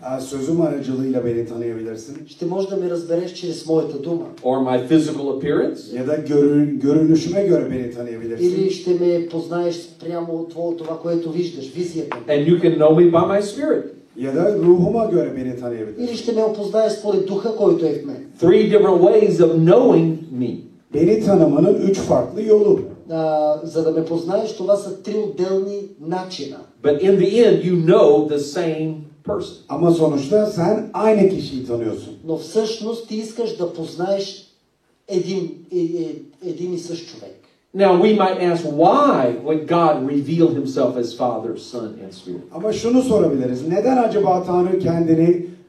Aa, Sözüm aracılığıyla beni tanıyabilirsin. Ще можеш да ме разбереш чрез моята дума. or my physical appearance, Ya da görün, görünüşüme göre beni Или tanıyabilirsin. ще ме познаеш прямо от това, това, което виждаш, визията ми. and you can know me by my spirit. Ya da ruhuma göre beni Или tanıyabilirsin. ще ме опознаеш според духа, който е в мен. Three different ways of knowing me. Beni tanımanın üç farklı yolu. А, за да ме познаеш, това са три отделни начина. But in the end, you know the same person. Ama sonuçta sen aynı kişiyi tanıyorsun. Но всъщност ти искаш да познаеш един, е- е- един и същ човек. Now, we might ask, why would God reveal himself as Father, Son, and Spirit? Ama şunu sorabiliriz. Neden acaba Tanrı kendini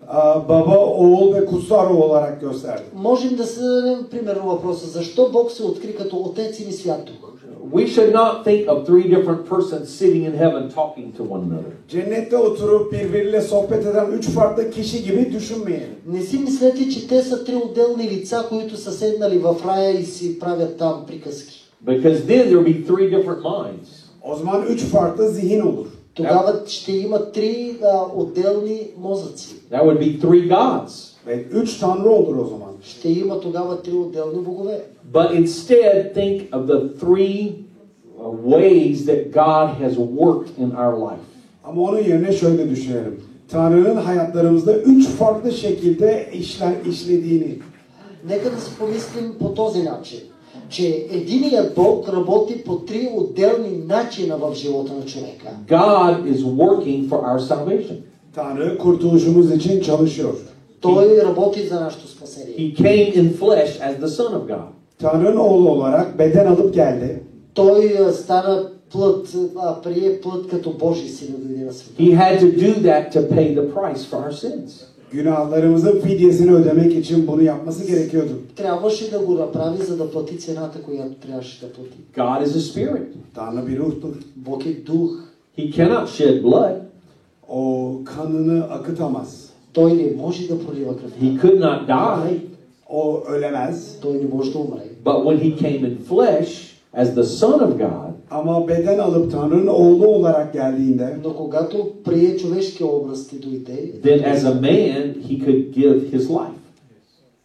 e, baba, oğul ve kutsal ruh olarak gösterdi? Можем да си дадем примерно въпроса, защо Бог се откри като Отец и Свят Дух? We should not think of three different persons sitting in heaven talking to one another. Cennette oturup birbiriyle sohbet eden üç farklı kişi gibi düşünmeyelim. Не си мислете, че те са три отделни лица, които са седнали в рая и си правят там приказки. Because then there would be three different minds. O zaman üç farklı zihin olur. Тогава ще има три а, отделни мозъци. That would be three gods. Ve üç tanrı olur o zaman. Ще има тогава три отделни богове. But instead, think of the three uh, ways that God has worked in our life. Ama onun yerine şöyle düşünelim. Tanrı'nın hayatlarımızda üç farklı şekilde işler işlediğini. Нека да си помислим по този начин, че единият Бог работи по три отделни начина в живота на човека. God is working for our salvation. Tanrı kurtuluşumuz için çalışıyor. Той работи за нашето спасение. He came in flesh as the Son of God. Tanrı'nın oğlu olarak beden alıp geldi. Той а, стана плът, а, прие плът като Божий син и дойде на света. He had to do that to pay the price for our sins. Günahlarımızın fidyesini ödemek için bunu yapması gerekiyordu. Трябваше да го направи, за да плати цената, която трябваше да плати. God is a spirit. Tanrı bir ruhtur. Бог е дух. He cannot shed blood. O kanını akıtamaz. Той не може да пролива кръвта. He could not die. O ölemez. Той не може да умре. But when he came in flesh as the Son of God, Ama beden alıp Tanrı'nın oğlu olarak geldiğinde Но когато прие човешкия образ и дойде, then as a man, he could give his life.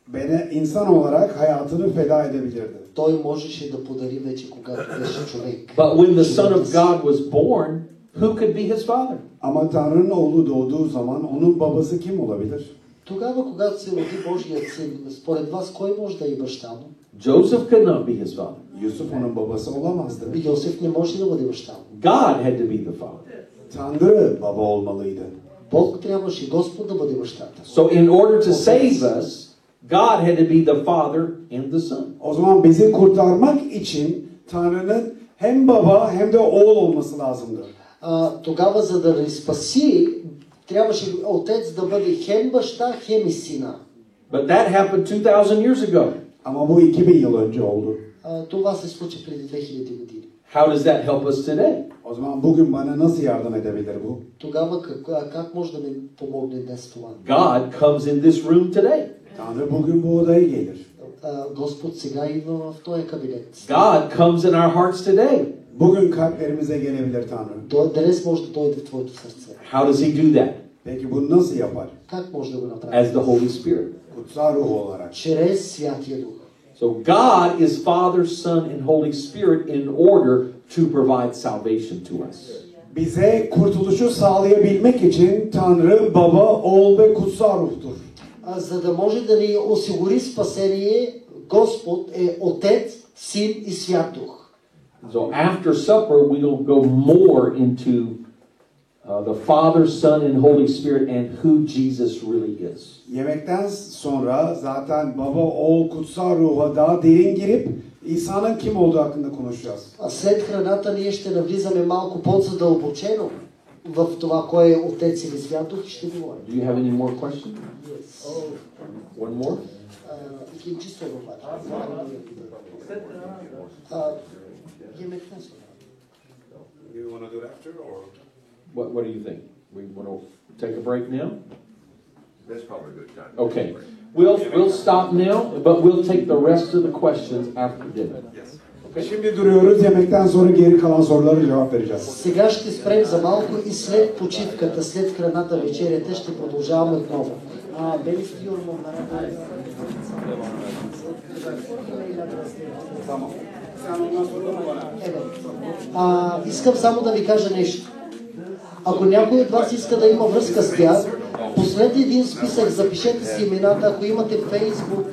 beni insan olarak hayatını feda edebilirdi. той можеше да подари вече, когато беше човек. But when the Son of God was born, who could be his father? Ama Tanrı'nın oğlu doğduğu zaman onun babası kim olabilir? Тогава, когато се роди Божият син, според вас, кой може да е баща му? Joseph could not be his father. Yusuf onun babası olamazdı. И Йосиф не може да бъде баща му. God had to be the father. Tanrı baba olmalıydı. Бог трябваше Господ да бъде бащата. So, in order to save us, God had to be the father and the son. O zaman bizi kurtarmak için Tanrı'nın hem baba hem de oğul olması lazımdı. А, тогава, за да ни спаси, трябваше отец да бъде хем баща, хем и сина. But that happened 2,000 years ago. Ama bu 2000 yıl önce oldu. А, това се случи преди 2000 години. How does that help us today? O zaman bugün bana nasıl yardım edebilir bu? Тогава как, а как може да ми помогне днес това? God comes in this room today. Tanrı bugün bu odaya gelir. А, Господ сега идва в този кабинет. God comes in our hearts today. Bugün kalplerimize gelebilir Tanrı. Той днес може да дойде в твоето сърце. How does he do that? Peki bunu nasıl yapar? Как може да го направи? As the Holy Spirit. Kutsal ruh olarak. Чрез Святия Дух. So God is Father, Son, and Holy Spirit in order to provide salvation to us. Bize kurtuluşu sağlayabilmek için Tanrı baba, oğul ve kutsal ruhtur. А, за да може да ни осигури спасение, Господ е Отец, Син и Свят Дух. So after supper, we will go more into uh, the Father, Son, and Holy Spirit and who Jesus really is. Yemekten sonra zaten baba, oğul, kutsal ruha daha derin girip İsa'nın kim olduğu hakkında konuşacağız. А след храната ние ще навлизаме малко по-задълбочено в това, кой е Отец или Свят Дух и ще говорим. Do you have any more questions? One more? А, и чисто това. А, Yemekten sonra. You want to do it after or? What, what do you think? We want to take a break now? That's probably a good time. Okay. We'll, we'll stop now, but we'll take the rest of the questions after dinner. Şimdi duruyoruz yemekten sonra geri kalan sorulara cevap vereceğiz. Сега ще спрем за малко и след почивката, след храната, вечерята ще продължаваме отново. А, бели сте юрмо, а, искам само да ви кажа нещо. Ако някой от вас иска да има връзка с тях, последи един списък, запишете си имената, ако имате Фейсбук,